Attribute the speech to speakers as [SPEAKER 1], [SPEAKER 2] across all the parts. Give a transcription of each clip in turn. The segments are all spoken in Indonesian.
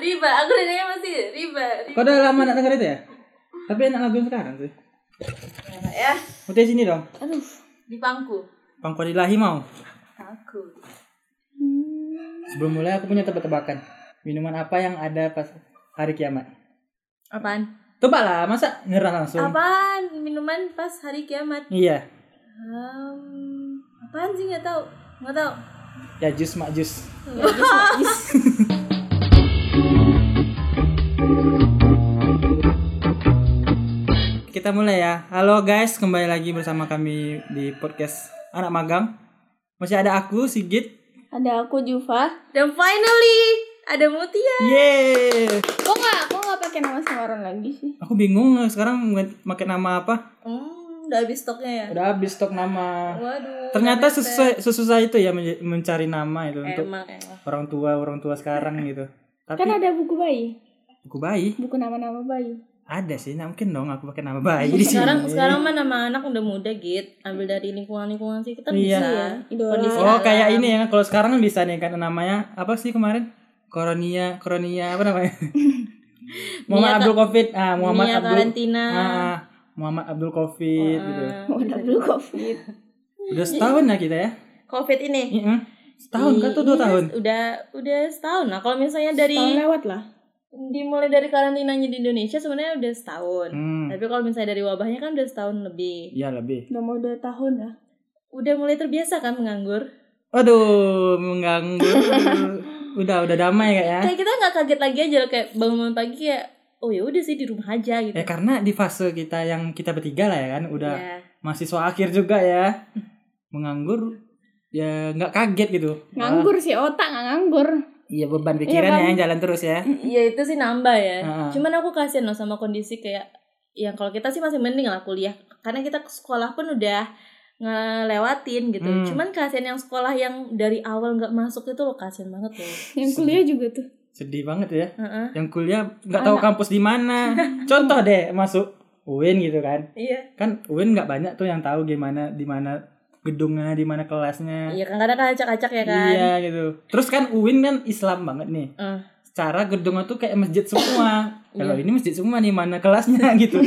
[SPEAKER 1] riba aku dengarnya masih riba, riba.
[SPEAKER 2] Kau udah lama nak denger itu ya? Tapi enak lagu yang sekarang sih.
[SPEAKER 1] ya
[SPEAKER 2] Udah sini dong.
[SPEAKER 3] Aduh.
[SPEAKER 1] di pangku
[SPEAKER 2] Pangkodilahi mau.
[SPEAKER 1] aku
[SPEAKER 2] Sebelum mulai aku punya tebak-tebakan. Minuman apa yang ada pas hari kiamat?
[SPEAKER 1] apaan
[SPEAKER 2] Coba lah, masa nyerah langsung?
[SPEAKER 1] apaan minuman pas hari kiamat
[SPEAKER 2] Iya.
[SPEAKER 1] um, apaan sih nggak tahu nggak tahu
[SPEAKER 2] Ya jus mak jus. Kita mulai ya. Halo guys, kembali lagi bersama kami di podcast Anak Magang. Masih ada aku Sigit.
[SPEAKER 3] Ada aku Jufa.
[SPEAKER 1] dan finally ada Mutia
[SPEAKER 2] Yeay.
[SPEAKER 3] Kok nggak, kok nggak pakai nama samaran lagi sih?
[SPEAKER 2] Aku bingung eh, sekarang pakai nama apa?
[SPEAKER 1] hmm udah habis stoknya ya
[SPEAKER 2] Udah habis stok nama.
[SPEAKER 1] waduh
[SPEAKER 2] Ternyata
[SPEAKER 1] habis stok.
[SPEAKER 2] sesusah, sesusah itu ya menj- mencari nama itu untuk
[SPEAKER 1] emang emang
[SPEAKER 2] orang tua orang tua sekarang gitu. Tapi
[SPEAKER 3] Kan ada buku bayi,
[SPEAKER 2] buku bayi
[SPEAKER 3] buku nama-nama bayi.
[SPEAKER 2] ada sih, nah, mungkin dong aku pakai nama bayi di sini.
[SPEAKER 1] sekarang sekarang mah nama anak udah muda git ambil dari lingkungan lingkungan sih kita
[SPEAKER 2] Iya.
[SPEAKER 1] bisa
[SPEAKER 3] Idola.
[SPEAKER 1] kondisi
[SPEAKER 2] Oh
[SPEAKER 1] alam.
[SPEAKER 2] kayak ini ya, kalau sekarang kan bisa nih kan namanya apa sih kemarin? Koronia, Koronia apa namanya? Muhammad
[SPEAKER 1] Mia
[SPEAKER 2] Abdul Covid, ah Muhammad
[SPEAKER 1] Mia
[SPEAKER 2] Abdul,
[SPEAKER 1] Valentina
[SPEAKER 2] ah Muhammad Abdul Covid
[SPEAKER 1] ah.
[SPEAKER 2] gitu.
[SPEAKER 3] Oh, ada dulu covid.
[SPEAKER 2] Udah setahun ya kita ya?
[SPEAKER 1] Iya. covid ini
[SPEAKER 2] Iya, setahun kan tuh dua
[SPEAKER 1] Iya,
[SPEAKER 2] tahun.
[SPEAKER 1] udah udah setahun nah kalau misalnya dari
[SPEAKER 3] Tahun lewat lah.
[SPEAKER 1] dimulai dari karantinanya di Indonesia sebenarnya udah setahun
[SPEAKER 2] Hmm,
[SPEAKER 1] tapi kalau misalnya dari wabahnya kan udah setahun lebih
[SPEAKER 2] iya lebih.
[SPEAKER 3] Udah mau dua tahun lah.
[SPEAKER 1] udah mulai terbiasa kan menganggur
[SPEAKER 2] Aduh, mengganggu. udah udah damai kayak ya.
[SPEAKER 1] kayak kita nggak kaget lagi aja kayak bangun pagi kayak oh ya udah sih di rumah aja gitu
[SPEAKER 2] Ya karena di fase kita yang kita bertiga lah ya kan, udah
[SPEAKER 1] Iya.
[SPEAKER 2] mahasiswa akhir juga ya. Menganggur ya nggak kaget gitu. Wah,
[SPEAKER 3] Nganggur sih otak nggak nganggur.
[SPEAKER 2] Iya beban pikiran
[SPEAKER 3] Iya, kan?
[SPEAKER 2] ya yang jalan terus ya.
[SPEAKER 1] ya itu sih nambah ya
[SPEAKER 2] Heeh.
[SPEAKER 1] cuman aku kasihan loh sama kondisi kayak yang kalau kita sih masih mending lah kuliah karena kita ke sekolah pun udah ngelewatin gitu
[SPEAKER 2] Hmm.
[SPEAKER 1] cuman kasihan yang sekolah yang dari awal nggak masuk itu loh kasihan banget loh
[SPEAKER 3] Yang kuliah juga tuh.
[SPEAKER 2] Sedih banget ya.
[SPEAKER 1] Heeh.
[SPEAKER 2] Yang kuliah nggak tahu kampus di mana. Contoh deh masuk UIN gitu kan.
[SPEAKER 1] iya
[SPEAKER 2] Kan UIN nggak banyak tuh yang tahu gimana di mana gedungnya, di mana kelasnya.
[SPEAKER 1] iya kan kadang kan acak-acak ya kan
[SPEAKER 2] Iya gitu. Terus kan UIN kan Islam banget nih.
[SPEAKER 1] Eh.
[SPEAKER 2] Secara gedungnya tuh kayak masjid semua. Kalau
[SPEAKER 3] Iya.
[SPEAKER 2] ini masjid semua nih mana kelasnya gitu.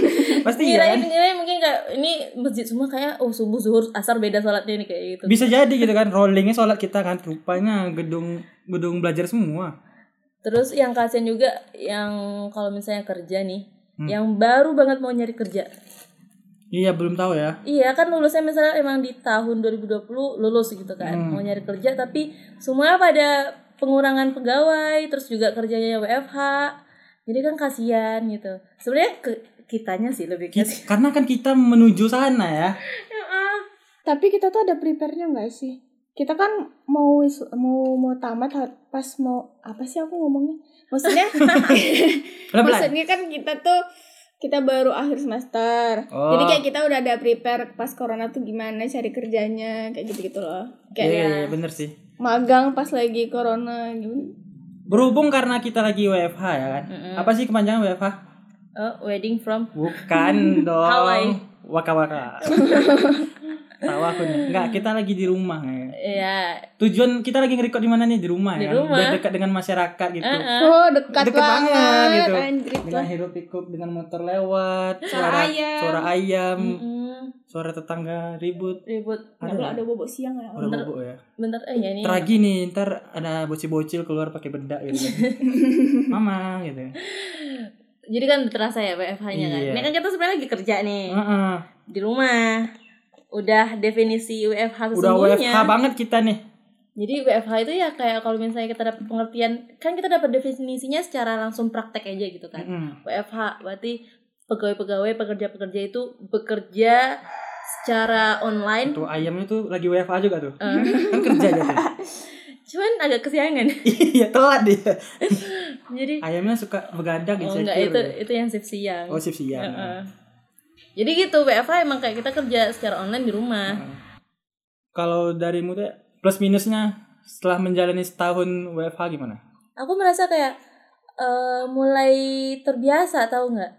[SPEAKER 2] Pasti iya
[SPEAKER 1] Kirain
[SPEAKER 2] kan.
[SPEAKER 1] kirain mungkin kayak ini masjid semua kayak oh subuh zuhur asar beda sholatnya nih kayak gitu.
[SPEAKER 2] Bisa jadi gitu kan rollingnya sholat kita kan rupanya gedung gedung belajar semua.
[SPEAKER 1] Terus yang kasihan juga yang kalau misalnya kerja nih,
[SPEAKER 2] Hmm.
[SPEAKER 1] yang baru banget mau nyari kerja.
[SPEAKER 2] Iya belum tahu ya.
[SPEAKER 1] Iya kan lulusnya misalnya emang di tahun 2020 lulus gitu kan
[SPEAKER 2] Hmm.
[SPEAKER 1] mau nyari kerja tapi semuanya pada pengurangan pegawai terus juga kerjanya WFH jadi kan kasihan gitu sebenarnya ke- kitanya sih lebih kasihan
[SPEAKER 2] Ki- karena kan kita menuju sana ya.
[SPEAKER 3] Tapi kita tuh ada prepare-nya nggak sih? Kita kan mau wis- mau mau tamat har- pas mau apa sih aku ngomongnya? Maksudnya
[SPEAKER 2] Pelan-pelan.
[SPEAKER 3] maksudnya kan kita tuh kita baru akhir semester.
[SPEAKER 2] Oh.
[SPEAKER 3] Jadi kayak gitu kita udah ada prepare pas corona tuh gimana cari kerjanya kayak gitu-gitu loh.
[SPEAKER 2] Iya,
[SPEAKER 3] Kayak ya.
[SPEAKER 2] iya, iya, bener sih.
[SPEAKER 3] magang pas lagi corona gitu.
[SPEAKER 2] Berhubung karena kita lagi WFH ya kan.
[SPEAKER 3] Hmm.
[SPEAKER 2] Apa sih kepanjangan WFH?
[SPEAKER 1] Oh, wedding from
[SPEAKER 2] Bukan dong.
[SPEAKER 1] Hawaii.
[SPEAKER 2] Waka-waka. Tahu aku nih. Enggak, kita lagi di rumah ya.
[SPEAKER 1] ya
[SPEAKER 2] Tujuan kita lagi ngerekod di mana nih? Di rumah
[SPEAKER 1] Di
[SPEAKER 2] ya. kan?
[SPEAKER 1] rumah. Eh,
[SPEAKER 2] Biar dekat dengan masyarakat gitu.
[SPEAKER 3] Oh, dekat,
[SPEAKER 2] Deket banget,
[SPEAKER 3] banget,
[SPEAKER 2] gitu.
[SPEAKER 3] anjrit
[SPEAKER 2] Dengan
[SPEAKER 3] lah.
[SPEAKER 2] hirup pikuk, dengan motor lewat,
[SPEAKER 3] Suara
[SPEAKER 2] suara
[SPEAKER 3] ayam.
[SPEAKER 2] suara ayam,
[SPEAKER 1] Mm,
[SPEAKER 2] suara tetangga ribut.
[SPEAKER 1] ribut
[SPEAKER 3] Nggak perlu ada bobok siang ya.
[SPEAKER 2] Udah bubuk ya.
[SPEAKER 1] bentar eh ya nih
[SPEAKER 2] Teragi nih, ntar ada bocil-bocil keluar pakai bedak gitu. Mama
[SPEAKER 1] Eh,
[SPEAKER 2] gitu.
[SPEAKER 1] jadi kan udah terasa ya WFH-nya kan
[SPEAKER 2] Iya.
[SPEAKER 1] ini kan kita sebenarnya lagi kerja nih
[SPEAKER 2] Heeh.
[SPEAKER 1] di rumah udah definisi WFH
[SPEAKER 2] Udah
[SPEAKER 1] sesungguhnya
[SPEAKER 2] WFH banget kita nih.
[SPEAKER 1] jadi WFH itu ya kayak kalau misalnya kita dapat pengertian kan kita dapat definisinya secara langsung praktek aja gitu kan
[SPEAKER 2] Mm-mm.
[SPEAKER 1] WFH berarti pegawai-pegawai pekerja-pekerja itu bekerja secara online
[SPEAKER 2] Tuh ayamnya tuh lagi WFH juga tuh.
[SPEAKER 1] Eh,
[SPEAKER 2] Kan kerja dia tuh.
[SPEAKER 1] cuman agak kesiangan
[SPEAKER 2] Iya, telat dia.
[SPEAKER 1] jadi
[SPEAKER 2] Ayamnya suka begadang
[SPEAKER 1] oh
[SPEAKER 2] insecure. ya?
[SPEAKER 1] enggak itu itu yang shift siang
[SPEAKER 2] Oh, shift siang.
[SPEAKER 1] Heeh. Jadi gitu, WFH emang kayak kita kerja secara online di
[SPEAKER 3] Nah.
[SPEAKER 1] rumah.
[SPEAKER 2] Nah. Kalau darimu tuh plus minusnya setelah menjalani setahun WFH gimana?
[SPEAKER 1] Aku merasa kayak eh, mulai terbiasa tahu nggak?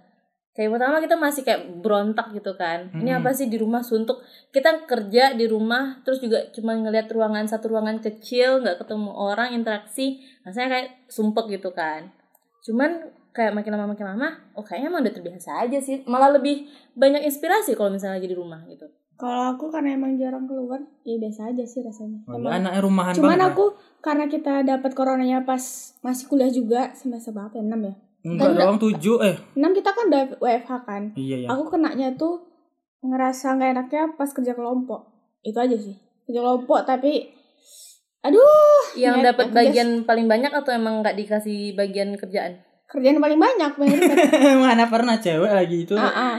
[SPEAKER 1] Kayak pertama kita masih kayak berontak gitu kan. Ini
[SPEAKER 2] Mm-mm.
[SPEAKER 1] apa sih di rumah suntuk? Kita kerja di rumah terus juga cuma ngelihat ruangan satu ruangan kecil, nggak ketemu orang, interaksi. Rasanya kayak sumpek gitu kan. Cuman kayak makin lama makin lama, oh kayaknya emang udah terbiasa aja sih. Malah lebih banyak inspirasi kalau misalnya lagi di rumah gitu.
[SPEAKER 3] Kalau aku karena emang jarang keluar, ya biasa aja sih rasanya.
[SPEAKER 2] Waduh,
[SPEAKER 3] Emang-
[SPEAKER 2] anaknya rumahan
[SPEAKER 3] Cuman
[SPEAKER 2] banget.
[SPEAKER 3] aku karena kita dapat coronanya pas masih kuliah juga semester berapa ya? 6 ya?
[SPEAKER 2] Enggak
[SPEAKER 3] Enggak.
[SPEAKER 2] doang tujuh eh.
[SPEAKER 3] 6 kita kan udah WFH kan.
[SPEAKER 2] Iya ya.
[SPEAKER 3] Aku kenanya tuh ngerasa nggak enaknya pas kerja kelompok. Itu aja sih. Kerja kelompok tapi aduh,
[SPEAKER 1] Yang
[SPEAKER 3] Iya,
[SPEAKER 1] dapat
[SPEAKER 3] aku
[SPEAKER 1] bagian paling banyak atau emang nggak dikasih bagian kerjaan?
[SPEAKER 3] kerjaan paling banyak banyak.
[SPEAKER 2] Eh, Mana pernah cewek lagi itu?
[SPEAKER 3] Ah, ah.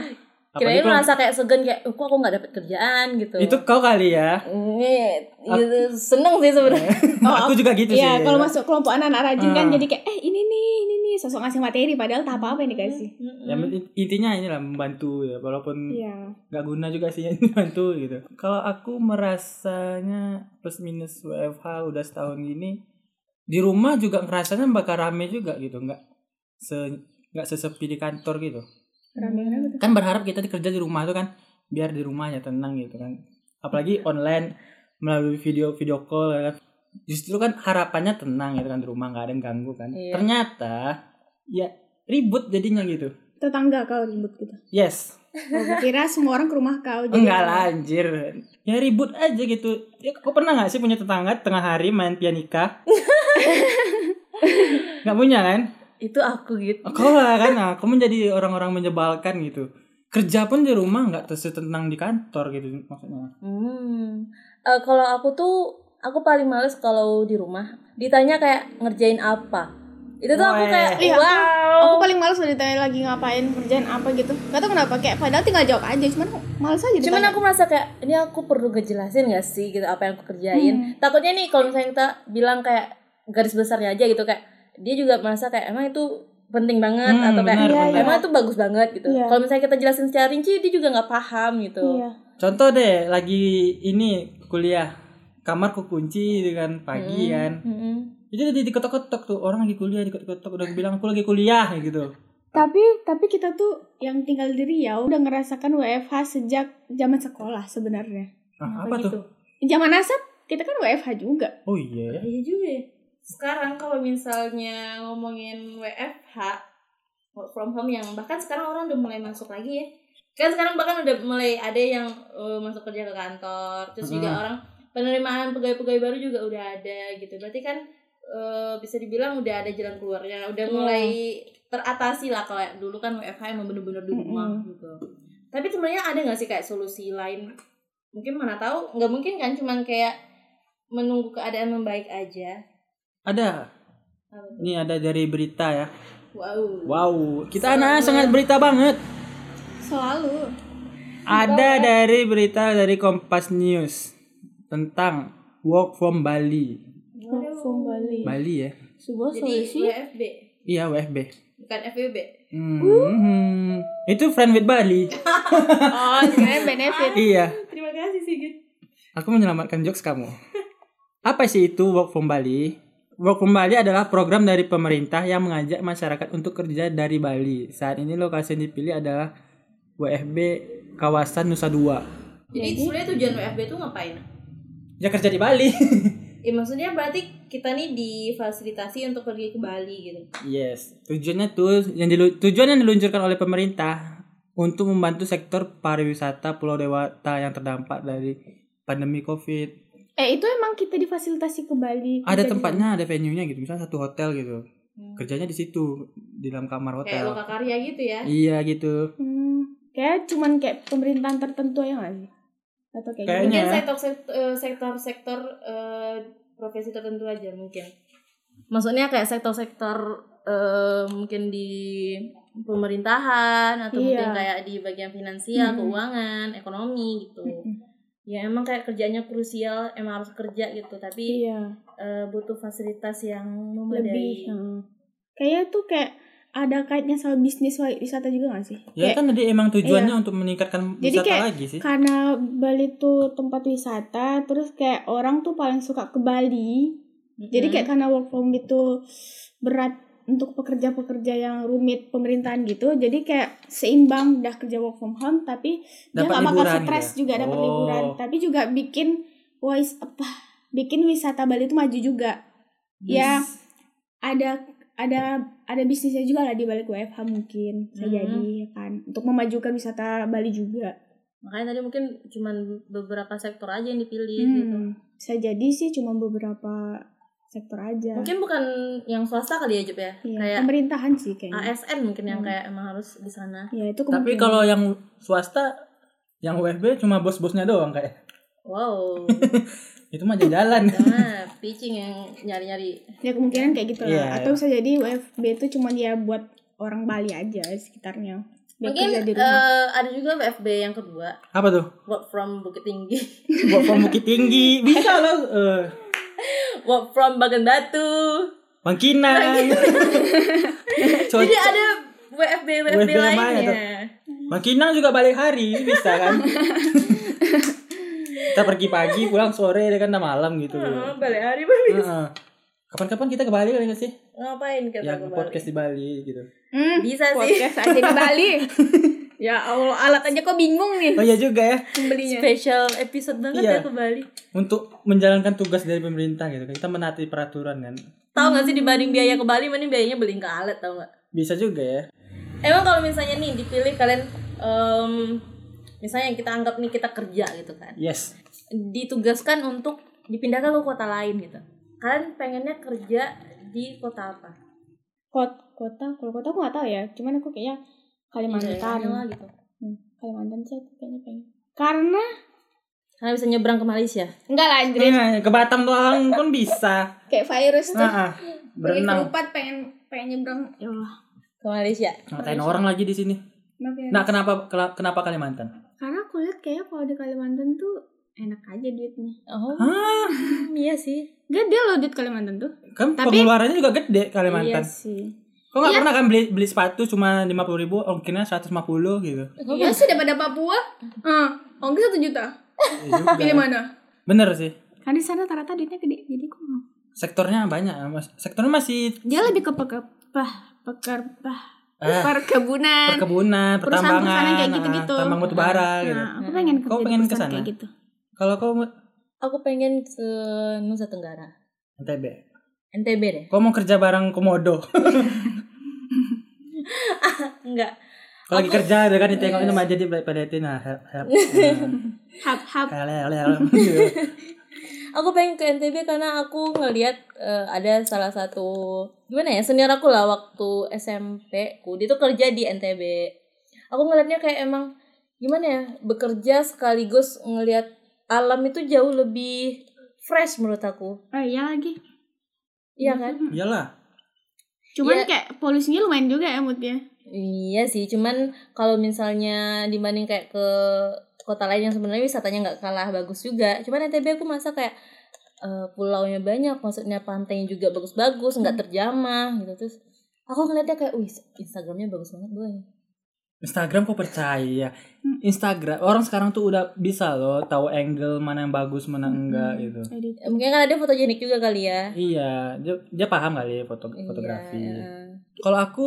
[SPEAKER 1] Kirain
[SPEAKER 2] Apalagi kalau-
[SPEAKER 1] merasa kayak segan kayak, "Oh, kok aku nggak dapat kerjaan gitu.
[SPEAKER 2] itu kau kali ya. Eh,
[SPEAKER 1] Ini gitu, seneng sih sebenarnya.
[SPEAKER 3] Oh,
[SPEAKER 2] aku juga gitu sih.
[SPEAKER 3] Iya, kalau masuk kelompok anak-anak rajin kan
[SPEAKER 2] Ah.
[SPEAKER 3] jadi kayak eh ini nih, ini nih sosok ngasih materi padahal tak apa-apa yang dikasih.
[SPEAKER 1] Mm-mm.
[SPEAKER 2] Ya, in- intinya inilah membantu ya walaupun
[SPEAKER 3] Iya.
[SPEAKER 2] nggak guna juga sih bantu gitu kalau aku merasanya plus minus WFH udah setahun gini di rumah juga ngerasanya bakal rame juga gitu nggak se nggak sesepi di kantor gitu
[SPEAKER 3] Rame-rame tuh.
[SPEAKER 2] kan berharap kita kerja di rumah tuh kan biar di rumah aja tenang gitu kan apalagi online melalui video video call ya kan. justru kan harapannya tenang gitu kan di rumah nggak ada yang ganggu kan
[SPEAKER 1] Iya.
[SPEAKER 2] ternyata ya ribut jadinya gitu
[SPEAKER 3] Tetangga kau ribut gitu.
[SPEAKER 2] yes
[SPEAKER 3] Oh, gua kira semua orang ke rumah kau jadi.
[SPEAKER 2] Enggak lah anjir Ya ribut aja gitu ya, Kau pernah gak sih punya tetangga tengah hari main pianika? gak punya kan?
[SPEAKER 1] Itu aku gitu.
[SPEAKER 2] Kau lah kan nah, Kamu menjadi orang-orang menyebalkan gitu Kerja pun di rumah gak tersetentang di kantor gitu maksudnya
[SPEAKER 1] Hmm. Eh, kalau aku tuh aku paling males kalau di rumah ditanya kayak ngerjain apa. Itu tuh aku
[SPEAKER 2] Weh.
[SPEAKER 1] kayak
[SPEAKER 3] Iya, aku-
[SPEAKER 1] wow.
[SPEAKER 3] Aku paling males kalau ditanya lagi ngapain, kerjaan apa gitu. Gak tau kenapa, kayak padahal tinggal jawab aja, cuman males aja
[SPEAKER 1] Cuman
[SPEAKER 3] ditanya.
[SPEAKER 1] aku merasa kayak ini aku perlu ngejelasin gak sih gitu apa yang aku
[SPEAKER 3] Hmm.
[SPEAKER 1] kerjain. Takutnya nih kalau misalnya kita bilang kayak garis besarnya aja gitu kayak dia juga merasa kayak emang itu penting banget
[SPEAKER 2] Hmm,
[SPEAKER 1] atau kayak
[SPEAKER 2] benar,
[SPEAKER 3] Iya,
[SPEAKER 2] benar.
[SPEAKER 3] iya.
[SPEAKER 1] emang itu bagus banget gitu.
[SPEAKER 3] Iya.
[SPEAKER 1] Kalau misalnya kita jelasin secara rinci dia juga nggak paham gitu.
[SPEAKER 3] Iya.
[SPEAKER 2] Contoh deh lagi ini kuliah Kamar kekunci gitu
[SPEAKER 1] Hmm.
[SPEAKER 2] kan pagi kan
[SPEAKER 1] Mm-mm.
[SPEAKER 2] Itu tadi diketok-ketok tuh orang lagi kuliah diketok-ketok Udah bilang aku lagi kuliah gitu
[SPEAKER 3] Tapi tapi kita tuh yang tinggal di Riau udah ngerasakan WFH sejak zaman sekolah sebenarnya.
[SPEAKER 2] Nah,
[SPEAKER 1] Kenapa
[SPEAKER 2] apa
[SPEAKER 1] gitu?
[SPEAKER 2] tuh?
[SPEAKER 3] Zaman asap kita kan WFH juga.
[SPEAKER 2] Oh iya ya
[SPEAKER 1] Iya juga ya. Sekarang kalau misalnya ngomongin WFH, work from home yang bahkan sekarang orang udah mulai masuk lagi ya. Kan sekarang bahkan udah mulai ada yang eh, masuk kerja ke kantor, terus juga
[SPEAKER 2] Mm.
[SPEAKER 1] orang penerimaan pegawai-pegawai baru juga udah ada gitu. Berarti kan eh, bisa dibilang udah ada jalan keluarnya, udah
[SPEAKER 3] Iya.
[SPEAKER 1] mulai teratasi lah kalau dulu kan WFH emang bener-bener di rumah gitu. Tapi sebenarnya ada nggak sih kayak solusi lain? Mungkin mana tahu, nggak mungkin kan cuman kayak menunggu keadaan membaik aja.
[SPEAKER 2] Ada
[SPEAKER 1] Apa tuh?
[SPEAKER 2] Ini ada dari berita ya
[SPEAKER 1] Wow.
[SPEAKER 2] Wow, kita anak sangat berita banget.
[SPEAKER 3] Selalu.
[SPEAKER 2] Ada dari berita dari Kompas News tentang work from Bali.
[SPEAKER 3] Work from Bali.
[SPEAKER 2] Bali ya?
[SPEAKER 3] Sebuah
[SPEAKER 1] Jadi WFB,
[SPEAKER 2] Iya, WFB.
[SPEAKER 1] bukan FWB.
[SPEAKER 2] Hmm. Itu friend with Bali.
[SPEAKER 3] Oh, sebenarnya benefit.
[SPEAKER 2] iya,
[SPEAKER 1] Terima kasih Sigit.
[SPEAKER 2] aku menyelamatkan jokes kamu. Apa sih itu work from Bali? Work from Bali adalah program dari pemerintah yang mengajak masyarakat untuk kerja dari Bali. Saat ini lokasi yang dipilih adalah WFB kawasan Nusa Dua.
[SPEAKER 1] Jadi sebenarnya tujuan WFB itu ngapain?
[SPEAKER 2] Ya kerja di Bali.
[SPEAKER 1] Ya maksudnya berarti kita nih difasilitasi untuk pergi ke Bali gitu.
[SPEAKER 2] Yes, tujuannya tuh yang dilu- tujuan yang diluncurkan oleh pemerintah untuk membantu sektor pariwisata Pulau Dewata yang terdampak dari pandemi Covid.
[SPEAKER 3] Eh itu emang kita difasilitasi ke Bali.
[SPEAKER 2] Ada
[SPEAKER 3] Kita
[SPEAKER 2] tempatnya, ada venue-nya gitu, misalnya satu hotel gitu. Kerjanya di situ, di dalam
[SPEAKER 1] Kayak
[SPEAKER 2] kamar hotel.
[SPEAKER 1] loka karya gitu ya.
[SPEAKER 2] Iya gitu.
[SPEAKER 3] di- Hmm. Kayak cuman kayak pemerintahan tertentu ya nggak sih? Atau kayak
[SPEAKER 2] Kayaknya.
[SPEAKER 1] Mungkin
[SPEAKER 2] ya.
[SPEAKER 1] sektor sektor sektor eh, profesi tertentu aja mungkin. Maksudnya kayak sektor-sektor eh, mungkin di pemerintahan atau mungkin
[SPEAKER 3] Iya.
[SPEAKER 1] kayak di bagian finansial,
[SPEAKER 3] Hmm.
[SPEAKER 1] keuangan, ekonomi gitu.
[SPEAKER 3] gitu.
[SPEAKER 1] ya emang kayak kerjanya krusial emang harus kerja gitu tapi
[SPEAKER 3] Iya.
[SPEAKER 1] eh, butuh fasilitas yang
[SPEAKER 3] Lebih.
[SPEAKER 1] memadai
[SPEAKER 3] hmm. Kayaknya tuh kayak ada kaitnya sama bisnis wa- wisata juga gak sih?
[SPEAKER 2] Ya
[SPEAKER 3] Kayak-
[SPEAKER 2] kan tadi emang tujuannya untuk meningkatkan
[SPEAKER 3] Jadi
[SPEAKER 2] wisata
[SPEAKER 3] kayak
[SPEAKER 2] lagi sih.
[SPEAKER 3] karena Bali tuh tempat wisata terus kayak
[SPEAKER 2] Hmm.
[SPEAKER 3] orang tuh paling suka ke Bali jadi kayak karena work from itu berat untuk pekerja-pekerja yang rumit pemerintahan gitu jadi kayak seimbang udah kerja work from home tapi dia
[SPEAKER 2] Dapat
[SPEAKER 3] nggak bakal
[SPEAKER 2] liburan
[SPEAKER 3] stres
[SPEAKER 2] dia.
[SPEAKER 3] juga dapat
[SPEAKER 2] Oh.
[SPEAKER 3] liburan tapi juga bikin wise apa bikin wisata Bali itu maju juga
[SPEAKER 2] Hmm.
[SPEAKER 3] ya ada ada ada bisnisnya juga lah di balik WFH mungkin bisa
[SPEAKER 1] Hmm.
[SPEAKER 3] jadi ya kan untuk memajukan wisata Bali juga
[SPEAKER 1] makanya tadi mungkin cuman beberapa sektor aja yang
[SPEAKER 2] Iya
[SPEAKER 1] dipilih gitu
[SPEAKER 3] Hmm, bisa jadi sih cuma beberapa sektor aja
[SPEAKER 1] mungkin bukan yang swasta kali ya Jup ya
[SPEAKER 3] Iya,
[SPEAKER 1] kayak
[SPEAKER 3] pemerintahan sih kayaknya
[SPEAKER 1] ASN mungkin yang
[SPEAKER 3] Hmm.
[SPEAKER 1] kayak emang harus di sana
[SPEAKER 3] ya itu
[SPEAKER 2] Tapi
[SPEAKER 3] kemungkinan.
[SPEAKER 2] kalau yang swasta yang UFB cuma bos-bosnya doang kayak.
[SPEAKER 1] wow
[SPEAKER 2] Itu mah jalan.
[SPEAKER 1] karena pitching yang nyari nyari
[SPEAKER 3] ya kemungkinan kayak gitu
[SPEAKER 2] Iya,
[SPEAKER 3] lah atau bisa jadi WFB itu cuma dia buat orang Bali aja sekitarnya Dia kerja
[SPEAKER 1] mungkin
[SPEAKER 3] di rumah
[SPEAKER 1] eh, ada juga WFB yang kedua
[SPEAKER 2] Apa tuh?
[SPEAKER 1] work from Bukit Tinggi
[SPEAKER 2] Buat from Bukit Tinggi bisa loh. eh,
[SPEAKER 1] work from Bagan Batu
[SPEAKER 2] Bangkinang.
[SPEAKER 1] jadi
[SPEAKER 2] Cocok.
[SPEAKER 1] ada WFB WFB,
[SPEAKER 2] WFB yang mana
[SPEAKER 1] lainnya
[SPEAKER 2] tuh? Bangkinang juga balik hari bisa kan. kita pergi pagi pulang sore ya kan udah malam gitu
[SPEAKER 1] Heeh,
[SPEAKER 2] loh.
[SPEAKER 1] Oh, balik hari Bali.
[SPEAKER 2] Heeh. Kapan-kapan kita ke Bali kali nggak sih?
[SPEAKER 1] ngapain kita
[SPEAKER 2] Yang
[SPEAKER 1] ke Bali?
[SPEAKER 2] podcast di Bali gitu.
[SPEAKER 3] Hmm,
[SPEAKER 1] bisa sih
[SPEAKER 3] podcast aja di Bali ya Allah alat aja kok bingung nih
[SPEAKER 2] Oh iya juga ya.
[SPEAKER 3] membelinya
[SPEAKER 1] special episode banget
[SPEAKER 2] Iya.
[SPEAKER 1] ya ke Bali
[SPEAKER 2] Untuk menjalankan tugas dari pemerintah gitu. Kita menaati peraturan kan.
[SPEAKER 1] Tahu gak sih dibanding biaya ke Bali mending biayanya beliin ke alet tau gak?
[SPEAKER 2] Bisa juga ya.
[SPEAKER 1] Emang kalau misalnya nih dipilih kalian em, misalnya yang kita anggap nih kita kerja gitu kan.
[SPEAKER 2] Yes.
[SPEAKER 1] Ditugaskan untuk dipindahkan ke kota lain gitu. Kalian pengennya kerja di kota apa?
[SPEAKER 3] Kot- kota kalau kota aku nggak tahu ya cuman aku kayaknya Kalimantan
[SPEAKER 1] Daerahnya lah gitu.
[SPEAKER 3] Hmm, Kalimantan sih aku kayaknya pengen karena Hmm.
[SPEAKER 1] Karena bisa nyebrang ke Malaysia.
[SPEAKER 3] enggak lah anjir
[SPEAKER 2] Nah, ke Batam doang pun bisa.
[SPEAKER 3] kayak virus tuh
[SPEAKER 2] Nah, ah,
[SPEAKER 3] Pergi
[SPEAKER 2] berenang.
[SPEAKER 3] kelupat pengen pengen nyebrang ya Allah
[SPEAKER 1] Ke Malaysia.
[SPEAKER 2] Ngatain orang lagi di sini.
[SPEAKER 3] Kenapa ya?
[SPEAKER 2] Nah, kenapa kela- kenapa Kalimantan?
[SPEAKER 3] karena aku lihat kayaknya kalau di Kalimantan tuh enak aja duitnya
[SPEAKER 1] Oh,
[SPEAKER 2] Hah,
[SPEAKER 1] hmm, iya sih.
[SPEAKER 3] gede loh duit Kalimantan tuh
[SPEAKER 2] kan
[SPEAKER 3] Tapi-
[SPEAKER 2] pengeluarannya juga gede
[SPEAKER 3] iya
[SPEAKER 2] Kalimantan.
[SPEAKER 3] sih
[SPEAKER 2] Kok nggak pernah kan beli beli sepatu cuma 50 ribu, ongkirnya 150 gitu.
[SPEAKER 3] Iya Hmm. sih daripada Papua. Heeh. ongkir satu juta.
[SPEAKER 2] Iya juga.
[SPEAKER 3] mana?
[SPEAKER 2] Bener sih.
[SPEAKER 3] Kan di sana rata-rata duitnya gede, jadi aku mau.
[SPEAKER 2] Sektornya banyak, Mas. Sektornya masih eh,
[SPEAKER 3] Dia lebih ke peker, pah, peker, pah, Nah,
[SPEAKER 2] ah,
[SPEAKER 3] perkebunan.
[SPEAKER 2] perkebunan, pertambangan,
[SPEAKER 3] Perusahaan-perusahaan yang kayak
[SPEAKER 2] ah,
[SPEAKER 3] gitu-gitu.
[SPEAKER 2] tambang batu bara gitu.
[SPEAKER 3] Nah, aku pengen
[SPEAKER 2] Kau
[SPEAKER 3] kerja di
[SPEAKER 2] pengen ke
[SPEAKER 3] perusahaan
[SPEAKER 2] sana?
[SPEAKER 3] kayak gitu.
[SPEAKER 2] Kalau kau mau-
[SPEAKER 1] Aku pengen ke Nusa Tenggara.
[SPEAKER 2] NTB.
[SPEAKER 1] NTB deh.
[SPEAKER 2] Kau mau kerja bareng komodo.
[SPEAKER 1] Enggak.
[SPEAKER 2] Kalau lagi kerja ada kan ditengok itu mah jadi pada itu nah help help.
[SPEAKER 3] Hap, hap.
[SPEAKER 2] Nah, help, help, help.
[SPEAKER 1] aku pengen ke NTB karena aku ngelihat eh, ada salah satu gimana ya senior aku lah waktu SMP ku dia tuh kerja di NTB aku ngelihatnya kayak emang gimana ya bekerja sekaligus ngelihat alam itu jauh lebih fresh menurut aku
[SPEAKER 3] Oh iya lagi.
[SPEAKER 1] iya kan
[SPEAKER 2] Iyalah.
[SPEAKER 3] Cuman
[SPEAKER 1] Iya.
[SPEAKER 3] kayak polusinya lumayan juga ya moodnya.
[SPEAKER 1] iya sih cuman kalau misalnya dibanding kayak ke kota lain yang sebenarnya wisatanya nggak kalah bagus juga cuman NTB aku merasa kayak eh, pulaunya banyak maksudnya pantainya juga bagus-bagus nggak terjamah gitu terus aku ngeliatnya kayak wih Instagramnya bagus banget boy
[SPEAKER 2] Instagram kok percaya Instagram orang sekarang tuh udah bisa loh tahu angle mana yang bagus mana enggak gitu
[SPEAKER 3] Hmm. Jadi
[SPEAKER 1] Eh, mungkin kan ada fotogenik juga kali ya
[SPEAKER 2] iya dia, dia paham kali foto fotografi
[SPEAKER 1] Iya,
[SPEAKER 2] kalau aku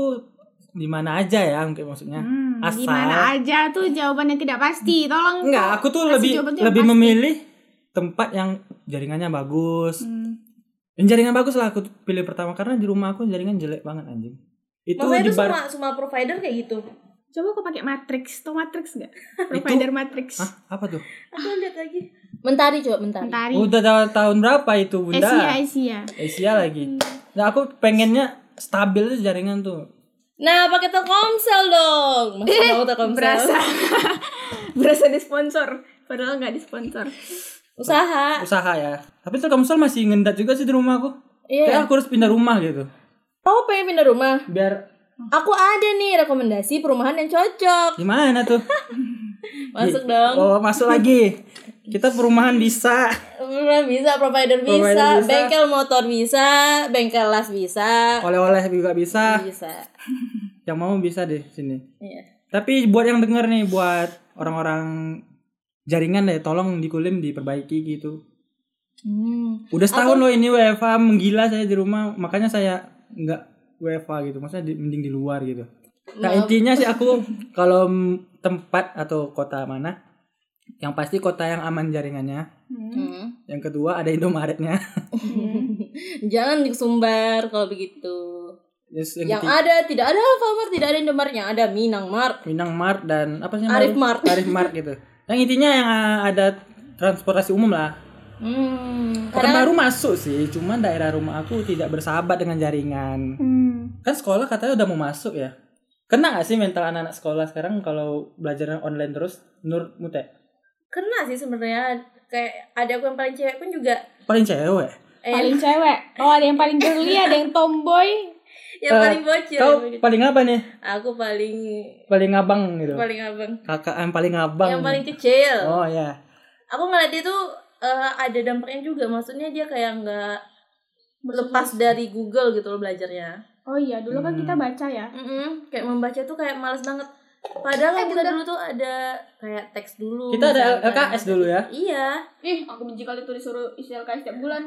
[SPEAKER 2] di mana aja ya mungkin maksudnya
[SPEAKER 3] Hmm,
[SPEAKER 2] Asal-
[SPEAKER 3] gimana aja tuh jawabannya tidak pasti. Tolong.
[SPEAKER 2] enggak aku tuh
[SPEAKER 3] Kasih
[SPEAKER 2] lebih
[SPEAKER 3] jawaban tuh yang
[SPEAKER 2] lebih
[SPEAKER 3] pasti.
[SPEAKER 2] memilih tempat yang jaringannya bagus
[SPEAKER 3] Hmm.
[SPEAKER 2] yang jaringan bagus lah aku pilih pertama karena di rumah aku jaringan jelek banget anjing itu
[SPEAKER 1] maksudnya
[SPEAKER 2] di
[SPEAKER 1] itu
[SPEAKER 2] bar
[SPEAKER 1] semua semua provider kayak gitu
[SPEAKER 3] Coba aku pakai matrix, tau matrix nggak? Provider matrix.
[SPEAKER 2] Hah, apa tuh
[SPEAKER 1] aku lihat lagi Ah. mentari coba mentari,
[SPEAKER 3] Mentari.
[SPEAKER 2] udah ta- tahun berapa itu bunda
[SPEAKER 3] Asia, Asia.
[SPEAKER 2] Asia lagi nah aku pengennya stabil tuh jaringan tuh
[SPEAKER 1] nah pakai telkomsel dong masih mau telkomsel
[SPEAKER 3] berasa berasa disponsor padahal nggak disponsor
[SPEAKER 1] usaha
[SPEAKER 2] usaha ya tapi telkomsel masih ngendat juga sih di rumah aku
[SPEAKER 1] iya
[SPEAKER 2] kayak aku harus pindah rumah gitu
[SPEAKER 1] kamu pengen pindah rumah
[SPEAKER 2] biar
[SPEAKER 1] Aku ada nih rekomendasi perumahan yang cocok.
[SPEAKER 2] gimana tuh
[SPEAKER 1] Masuk dong.
[SPEAKER 2] oh masuk lagi kita perumahan bisa
[SPEAKER 1] Perumahan bisa, provider bisa,
[SPEAKER 2] Provider bisa.
[SPEAKER 1] bengkel motor bisa, bengkel las bisa.
[SPEAKER 2] oleh-oleh juga bisa
[SPEAKER 1] Bisa.
[SPEAKER 2] yang mau bisa deh sini
[SPEAKER 1] Iya.
[SPEAKER 2] tapi buat yang denger nih buat orang-orang jaringan deh tolong dikulim diperbaiki gitu
[SPEAKER 1] Hmm.
[SPEAKER 2] udah setahun loh ini WFH menggila saya di rumah makanya saya nggak WFA gitu maksudnya di- mending di luar gitu nah
[SPEAKER 1] Nah,
[SPEAKER 2] intinya sih aku kalau m- tempat atau kota mana yang pasti kota yang aman jaringannya
[SPEAKER 1] hmm.
[SPEAKER 2] yang kedua ada Indomaretnya
[SPEAKER 1] Jangan sumber kalau begitu.
[SPEAKER 2] Terus
[SPEAKER 1] Yang,
[SPEAKER 2] yang, ketiga
[SPEAKER 1] ada tidak ada Alfamart, tidak ada Indomaret, yang ada Minang Mart,
[SPEAKER 2] Minang Mart dan apa sih namanya?
[SPEAKER 1] Arif Mart.
[SPEAKER 2] Tarif Mart gitu. Yang intinya yang uh, ada transportasi umum lah.
[SPEAKER 1] Hmm,
[SPEAKER 2] Kota
[SPEAKER 1] karena
[SPEAKER 2] baru masuk sih, cuman daerah rumah aku tidak bersahabat dengan jaringan.
[SPEAKER 3] Hmm.
[SPEAKER 2] Kan sekolah katanya udah mau masuk ya. Kena gak sih mental anak-anak sekolah sekarang kalau belajarnya online terus? Nur Mute,
[SPEAKER 1] kena sih sebenarnya kayak ada aku yang paling cewek pun juga
[SPEAKER 2] paling cewek.
[SPEAKER 1] eh,
[SPEAKER 3] Paling cewek. Oh, ada yang paling girly, ada yang tomboy.
[SPEAKER 1] yang
[SPEAKER 2] Eh,
[SPEAKER 1] paling bocil.
[SPEAKER 2] Kau paling apa nih?
[SPEAKER 1] Aku paling
[SPEAKER 2] Paling abang gitu.
[SPEAKER 1] paling abang.
[SPEAKER 2] Kakak yang paling abang.
[SPEAKER 1] Yang paling kecil.
[SPEAKER 2] Oh ya.
[SPEAKER 1] Aku ngeliat dia tuh eh, ada dampaknya juga. Maksudnya dia kayak nggak lepas dari Google gitu loh belajarnya.
[SPEAKER 3] Oh iya, dulu kan
[SPEAKER 2] Hmm.
[SPEAKER 3] kita baca ya.
[SPEAKER 1] Mm-mm, kayak membaca tuh kayak males banget. Padahal kan kita dulu tuh ada kayak teks dulu.
[SPEAKER 2] Kita ada
[SPEAKER 1] misalkan.
[SPEAKER 2] LKS dulu ya.
[SPEAKER 1] Iya.
[SPEAKER 3] Ih, aku benci kali tuh disuruh isi LKS setiap bulan.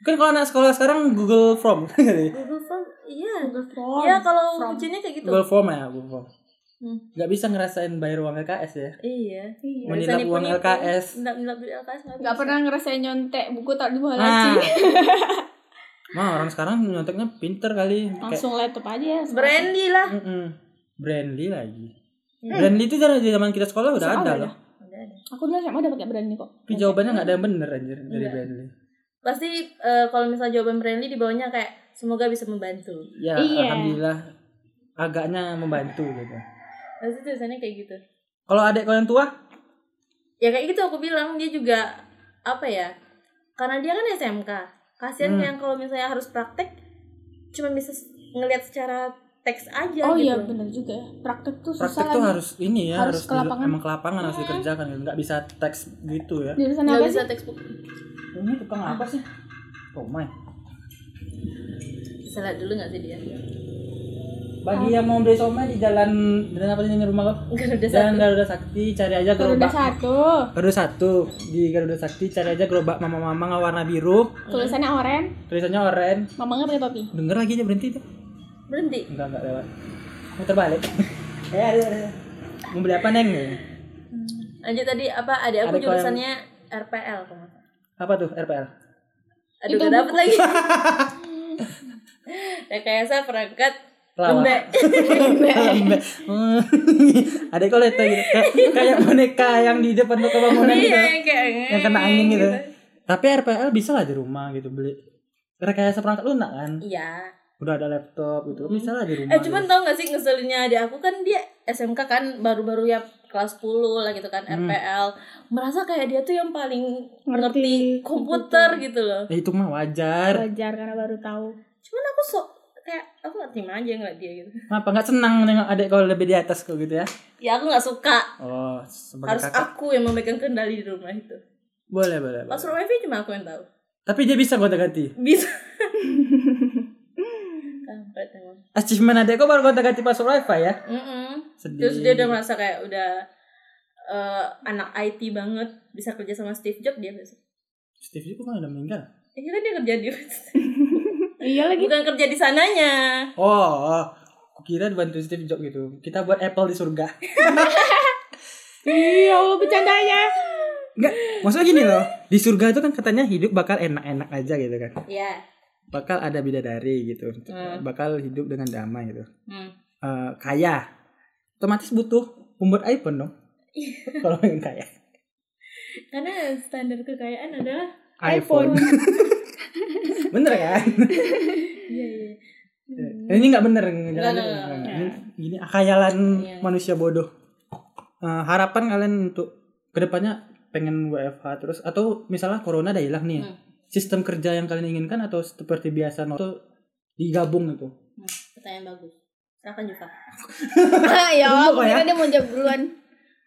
[SPEAKER 2] Kan kalau anak sekolah sekarang Google Form. kan
[SPEAKER 1] Google Form. Iya.
[SPEAKER 3] Google Form.
[SPEAKER 1] Iya kalau
[SPEAKER 3] From.
[SPEAKER 1] kuncinya kayak gitu.
[SPEAKER 2] Google Form ya, Google Form.
[SPEAKER 1] Hmm.
[SPEAKER 2] Gak bisa ngerasain bayar uang LKS ya.
[SPEAKER 1] Iya.
[SPEAKER 3] Iya.
[SPEAKER 1] Nggak bisa
[SPEAKER 2] Menilap uang
[SPEAKER 1] nipu-nipu.
[SPEAKER 2] LKS.
[SPEAKER 1] Nggak nilap duit LKS nggak
[SPEAKER 3] Gak
[SPEAKER 2] Iya,
[SPEAKER 1] bisa.
[SPEAKER 3] pernah ngerasain nyontek buku tak di bawah
[SPEAKER 2] Nah.
[SPEAKER 3] laci.
[SPEAKER 2] Mah orang sekarang nyonteknya pinter kali. Kayak,
[SPEAKER 3] Langsung laptop aja. ya,
[SPEAKER 1] Brandy lah.
[SPEAKER 2] Mm-mm. Brandly lagi.
[SPEAKER 1] Hmm.
[SPEAKER 2] Brandly itu dari dari zaman kita sekolah udah
[SPEAKER 3] Sekolah
[SPEAKER 2] ada
[SPEAKER 3] ada.
[SPEAKER 2] loh.
[SPEAKER 3] Aku dulu sama udah pakai brand kok.
[SPEAKER 2] Tapi jawabannya nggak ada yang bener anjir dari
[SPEAKER 1] Iya.
[SPEAKER 2] Brandly.
[SPEAKER 1] Pasti eh, kalau misalnya jawaban Brandy di bawahnya kayak semoga bisa membantu.
[SPEAKER 2] Ya
[SPEAKER 3] Iya.
[SPEAKER 2] alhamdulillah agaknya membantu gitu.
[SPEAKER 1] Pasti tulisannya kayak gitu.
[SPEAKER 2] Kalau adik kau yang tua,
[SPEAKER 1] Ya kayak gitu aku bilang dia juga apa ya? Karena dia kan SMK. Kasihan
[SPEAKER 2] Hmm.
[SPEAKER 1] yang kalau misalnya harus praktek cuma bisa s- ngelihat secara teks aja
[SPEAKER 3] Oh
[SPEAKER 1] gitu.
[SPEAKER 3] iya, bener juga ya. Praktek tuh susah
[SPEAKER 2] praktek tuh
[SPEAKER 3] lagi.
[SPEAKER 2] harus ini ya harus,
[SPEAKER 3] Harus ke
[SPEAKER 2] di-
[SPEAKER 3] lapangan.
[SPEAKER 2] emang ke lapangan harus dikerjakan gitu. Nggak bisa teks gitu ya.
[SPEAKER 3] Jurusan
[SPEAKER 1] Nggak
[SPEAKER 3] apa
[SPEAKER 1] bisa
[SPEAKER 3] sih?
[SPEAKER 1] textbook.
[SPEAKER 2] Ini tukang apa sih? Oh my.
[SPEAKER 1] Bisa lihat dulu nggak sih dia?
[SPEAKER 2] Bagi yang mau beli somai di jalan jalan apa sih ini rumah kau?
[SPEAKER 1] Garuda
[SPEAKER 2] Jalan
[SPEAKER 1] satu.
[SPEAKER 2] Garuda Sakti cari aja
[SPEAKER 3] Garuda
[SPEAKER 2] gerobak
[SPEAKER 3] satu.
[SPEAKER 2] Garuda satu di Garuda Sakti cari aja gerobak mama-mama warna biru
[SPEAKER 3] Tulisannya oren.
[SPEAKER 2] tulisannya oren
[SPEAKER 3] Mamanya pakai topi.
[SPEAKER 2] denger lagi dia berhenti tuh
[SPEAKER 1] Berhenti.
[SPEAKER 2] enggak enggak lewat muter balik eh ada ada mau beli apa neng
[SPEAKER 3] Hmm.
[SPEAKER 1] Lanjut tadi apa? Ada aku
[SPEAKER 2] Ada kalau yang-
[SPEAKER 1] jurusannya RPL kalau nggak salah.
[SPEAKER 2] apa tuh RPL
[SPEAKER 1] Aduh
[SPEAKER 3] Itu
[SPEAKER 1] gak dapet lagi Rekayasa perangkat
[SPEAKER 2] Pelawat.
[SPEAKER 1] lembek
[SPEAKER 2] Lambe. ada kalau itu gitu Kayak- kayak boneka yang di depan toko bangunan gitu
[SPEAKER 1] Iya yang kayak
[SPEAKER 2] yang kena angin gitu tapi RPL bisa lah di rumah gitu beli rekayasa perangkat lunak kan
[SPEAKER 1] Iya
[SPEAKER 2] udah ada laptop gitu bisa lah di
[SPEAKER 1] Eh
[SPEAKER 2] rumah
[SPEAKER 1] cuman tau gak sih ngeselinnya adik aku kan dia SMK kan baru-baru ya kelas 10 lah gitu kan RPL Merasa kayak dia tuh yang paling ngerti
[SPEAKER 3] Ngerti
[SPEAKER 1] komputer gitu loh
[SPEAKER 2] gitu. Ya, itu mah wajar
[SPEAKER 3] Belajar karena baru tahu.
[SPEAKER 1] Cuman aku sok kayak aku gak terima aja ngeliat dia gitu
[SPEAKER 2] Kenapa nggak senang nengok adik kalau lebih di atas kau gitu ya?
[SPEAKER 1] Ya aku gak suka
[SPEAKER 2] Oh, sebagai
[SPEAKER 1] Harus
[SPEAKER 2] kakak.
[SPEAKER 1] aku yang memegang kendali di rumah itu
[SPEAKER 2] Boleh, boleh, boleh.
[SPEAKER 1] Password wifi cuma aku yang tahu
[SPEAKER 2] Tapi dia bisa gonta ganti.
[SPEAKER 1] Bisa Kampret emang
[SPEAKER 2] Achievement adik kau baru gonta ganti password wifi ya?
[SPEAKER 1] Mm-mm.
[SPEAKER 2] Sedih.
[SPEAKER 1] Terus dia udah merasa kayak udah eh, anak IT banget bisa kerja sama Steve Jobs dia besok.
[SPEAKER 2] Steve Jobs kan udah meninggal.
[SPEAKER 1] Eh, kan dia kerja di
[SPEAKER 3] Iya lagi.
[SPEAKER 1] bukan kerja di sananya.
[SPEAKER 2] Oh, oh. kira dibantu Steve Jobs gitu. Kita buat Apple di surga.
[SPEAKER 3] Iya, Allah bercandanya.
[SPEAKER 2] Enggak, maksudnya gini loh. Di surga itu kan katanya hidup bakal enak-enak aja gitu kan.
[SPEAKER 3] Ya.
[SPEAKER 1] Iya.
[SPEAKER 2] Bakal ada bidadari gitu.
[SPEAKER 1] Hmm.
[SPEAKER 2] Bakal hidup dengan damai gitu.
[SPEAKER 1] Hmm.
[SPEAKER 2] Eh, kaya. Otomatis butuh pembuat iPhone dong.
[SPEAKER 1] Iya.
[SPEAKER 2] Kalau pengen kaya.
[SPEAKER 1] Karena standar kekayaan adalah
[SPEAKER 2] iPhone. bener kan?
[SPEAKER 1] iya iya.
[SPEAKER 2] Eh, Ini nggak bener. jangan-
[SPEAKER 1] Nggak, nggak,
[SPEAKER 2] jangan.
[SPEAKER 1] nggak.
[SPEAKER 2] Ini, ini khayalan
[SPEAKER 1] Iya.
[SPEAKER 2] manusia bodoh. Eh, harapan kalian untuk kedepannya pengen WFH terus atau misalnya corona udah hilang nih,
[SPEAKER 1] Hmm.
[SPEAKER 2] sistem kerja yang kalian inginkan atau seperti biasa no- atau digabung itu?
[SPEAKER 1] Hmm, pertanyaan bagus. Silakan juga.
[SPEAKER 3] ya Allah,
[SPEAKER 2] Dulu, Pak, ya.
[SPEAKER 3] kira dia mau jawab duluan.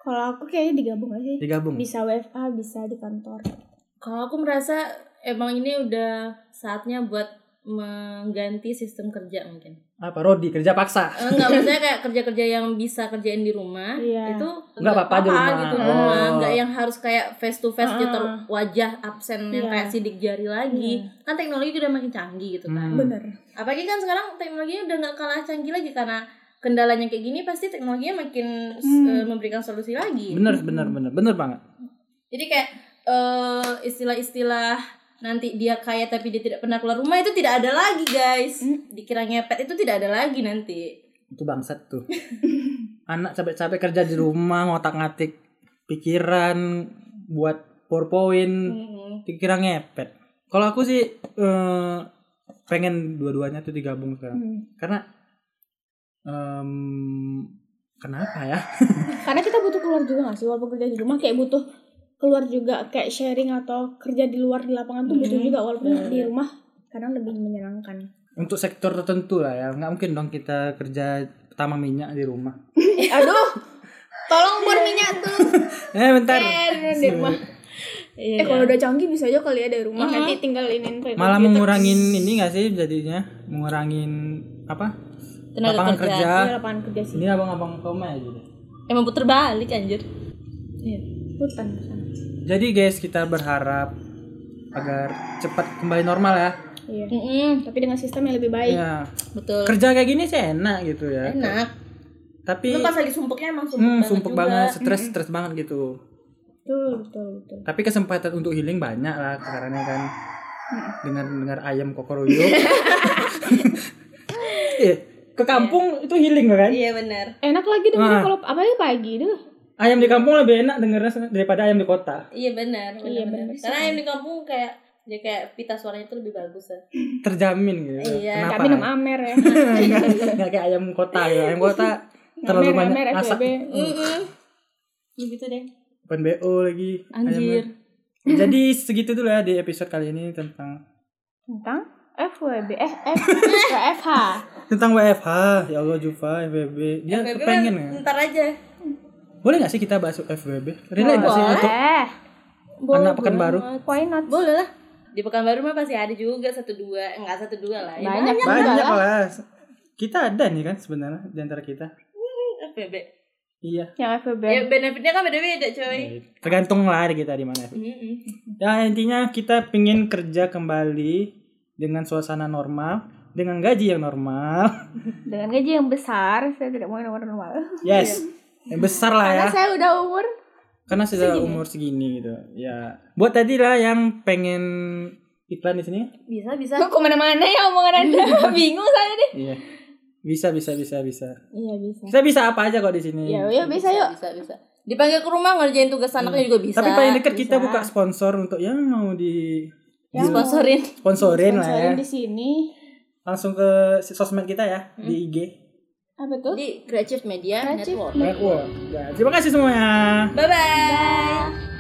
[SPEAKER 3] Kalau aku kayaknya digabung aja.
[SPEAKER 2] Digabung.
[SPEAKER 3] Bisa WFA, bisa di kantor.
[SPEAKER 1] Kalau aku merasa emang ini udah saatnya buat mengganti sistem kerja mungkin.
[SPEAKER 2] Apa Rodi kerja paksa?
[SPEAKER 1] Eh, Enggak maksudnya kayak kerja-kerja yang bisa kerjain di rumah
[SPEAKER 3] Iya.
[SPEAKER 1] itu
[SPEAKER 2] Enggak apa-apa di rumah.
[SPEAKER 1] gitu
[SPEAKER 2] Oh.
[SPEAKER 1] di rumah, enggak yang harus kayak face to face gitu
[SPEAKER 3] Ah.
[SPEAKER 1] wajah absen yang
[SPEAKER 3] Iya.
[SPEAKER 1] kayak sidik jari lagi. Kan teknologi udah makin canggih gitu kan.
[SPEAKER 2] Hmm.
[SPEAKER 3] bener
[SPEAKER 1] Apalagi kan sekarang teknologinya udah nggak kalah canggih lagi karena kendalanya kayak gini pasti teknologinya makin s- eh,
[SPEAKER 3] Hmm.
[SPEAKER 1] memberikan solusi lagi.
[SPEAKER 2] Bener bener bener bener banget.
[SPEAKER 1] Jadi kayak eh, istilah-istilah nanti dia kaya tapi dia tidak pernah keluar rumah itu tidak ada lagi guys. Dikira ngepet itu tidak ada lagi nanti.
[SPEAKER 2] Itu bangsat tuh. Anak capek-capek kerja di rumah ngotak ngatik pikiran buat
[SPEAKER 1] Hmm.
[SPEAKER 2] PowerPoint
[SPEAKER 1] Mm-mm.
[SPEAKER 2] dikira ngepet. Kalau aku sih eh, pengen dua-duanya tuh digabung sekarang.
[SPEAKER 3] Hmm.
[SPEAKER 2] Karena em, kenapa ya?
[SPEAKER 3] karena kita butuh keluar juga gak sih walaupun kerja di rumah kayak butuh keluar juga kayak sharing atau kerja di luar di lapangan tuh butuh
[SPEAKER 1] Mhm.
[SPEAKER 3] juga walaupun
[SPEAKER 1] Bener.
[SPEAKER 3] di rumah kadang lebih menyenangkan
[SPEAKER 2] Untuk sektor tertentu lah ya. Nggak mungkin dong kita kerja pertama minyak di rumah.
[SPEAKER 3] aduh tolong buat minyak tuh
[SPEAKER 2] Eh bentar.
[SPEAKER 3] Eh, di rumah
[SPEAKER 1] Iya.
[SPEAKER 3] eh kalau udah canggih bisa aja kali ya dari rumah
[SPEAKER 1] Mhm.
[SPEAKER 3] nanti tinggal iniin
[SPEAKER 1] Gitu.
[SPEAKER 2] Malah
[SPEAKER 3] pakai komputer.
[SPEAKER 2] mengurangin ini nggak sih jadinya? Mengurangin apa?
[SPEAKER 1] Tenaga
[SPEAKER 2] lapangan
[SPEAKER 1] kerja.
[SPEAKER 2] kerja.
[SPEAKER 3] Iya, lapangan kerja sih
[SPEAKER 2] Ini abang-abang koma ya gitu.
[SPEAKER 1] Emang puter balik anjir.
[SPEAKER 3] Iya, hutan kesana.
[SPEAKER 2] Jadi guys kita berharap agar cepat kembali normal ya.
[SPEAKER 3] iya
[SPEAKER 1] Mm-mm.
[SPEAKER 3] tapi dengan sistem yang lebih baik
[SPEAKER 2] Ya.
[SPEAKER 1] Betul.
[SPEAKER 2] Kerja kayak gini sih enak gitu ya.
[SPEAKER 1] Enak.
[SPEAKER 2] Tapi
[SPEAKER 1] Lu pas lagi sumpuknya emang sumpuk
[SPEAKER 2] hmm,
[SPEAKER 1] banget
[SPEAKER 2] sumpuk
[SPEAKER 1] juga.
[SPEAKER 2] banget, stres stres banget gitu.
[SPEAKER 3] betul betul betul
[SPEAKER 2] Tapi kesempatan untuk healing banyak lah karena kan dengar dengar ayam kokoroyo. eh, ke kampung itu healing kan?
[SPEAKER 1] Iya benar.
[SPEAKER 3] enak lagi dengerin
[SPEAKER 2] Nah.
[SPEAKER 3] kalau apalagi pagi deh
[SPEAKER 2] Ayam di kampung lebih enak dengernya sen- daripada ayam di kota.
[SPEAKER 1] Iya benar.
[SPEAKER 3] Iya,
[SPEAKER 1] Iya benar.
[SPEAKER 3] benar
[SPEAKER 1] Karena yang di kampung kayak dia kayak pita suaranya tuh lebih bagus ya.
[SPEAKER 2] Terjamin gitu.
[SPEAKER 1] Iya,
[SPEAKER 2] Kenapa?
[SPEAKER 3] kami nama Amer ya
[SPEAKER 2] Enggak kayak ayam kota ya. Ayam kota terlalu
[SPEAKER 3] Amer,
[SPEAKER 2] banyak
[SPEAKER 3] Amer,
[SPEAKER 2] asap.
[SPEAKER 3] FWB.
[SPEAKER 1] Begitu Ya gitu deh.
[SPEAKER 2] Open BO lagi.
[SPEAKER 1] Anjir.
[SPEAKER 2] ayamnya. Jadi segitu dulu ya di episode kali ini tentang
[SPEAKER 3] tentang FWB eh F FH
[SPEAKER 2] tentang WFH. Ya Allah Jufa, FWB. Dia
[SPEAKER 1] Bebe,
[SPEAKER 2] kepengen ya.
[SPEAKER 1] Ntar aja.
[SPEAKER 2] Boleh nggak sih kita bahas FWB? Relate nggak sih untuk
[SPEAKER 3] eh
[SPEAKER 2] anak Pekanbaru?
[SPEAKER 3] why not
[SPEAKER 1] Boleh lah. Di Pekanbaru mah pasti ada juga satu dua, enggak satu dua lah. Ya,
[SPEAKER 3] banyak
[SPEAKER 2] Banyak lah. Kita ada nih kan sebenarnya di antara kita.
[SPEAKER 1] FBB.
[SPEAKER 2] Iya. Eh,
[SPEAKER 3] yang FWB
[SPEAKER 1] Ya benefitnya kan beda-beda, coy.
[SPEAKER 2] Tergantung lah di kita di mana.
[SPEAKER 1] Mm-mm.
[SPEAKER 2] Ya intinya kita pingin kerja kembali dengan suasana normal, dengan gaji yang normal.
[SPEAKER 3] dengan gaji yang besar saya tidak mau yang nomor normal
[SPEAKER 2] Yes. Yang besar lah ya.
[SPEAKER 3] Iya. karena saya udah umur
[SPEAKER 2] Karena sudah umur segini gitu. Ya. Buat tadi lah yang pengen iklan di sini.
[SPEAKER 1] Bisa bisa.
[SPEAKER 3] kok kemana-mana ya omongan anda bingung saya nih
[SPEAKER 2] Iya. Bisa bisa bisa bisa.
[SPEAKER 3] iya bisa
[SPEAKER 2] Kita bisa apa aja kok di sini.
[SPEAKER 3] ya ya bisa yuk Iya.
[SPEAKER 1] Bisa bisa. Dipanggil ke rumah ngerjain tugas anaknya juga bisa.
[SPEAKER 2] Tapi paling dekat kita
[SPEAKER 3] bisa.
[SPEAKER 2] buka sponsor untuk yang mau di
[SPEAKER 1] Yang sponsorin.
[SPEAKER 2] sponsorin lah ya.
[SPEAKER 3] Sponsorin di sini
[SPEAKER 2] Langsung ke sosmed kita ya di IG.
[SPEAKER 3] apa tuh
[SPEAKER 1] Di Creative Media
[SPEAKER 3] Creative
[SPEAKER 1] Network.
[SPEAKER 2] Network. Ya, Terima kasih semuanya.
[SPEAKER 1] Bye bye.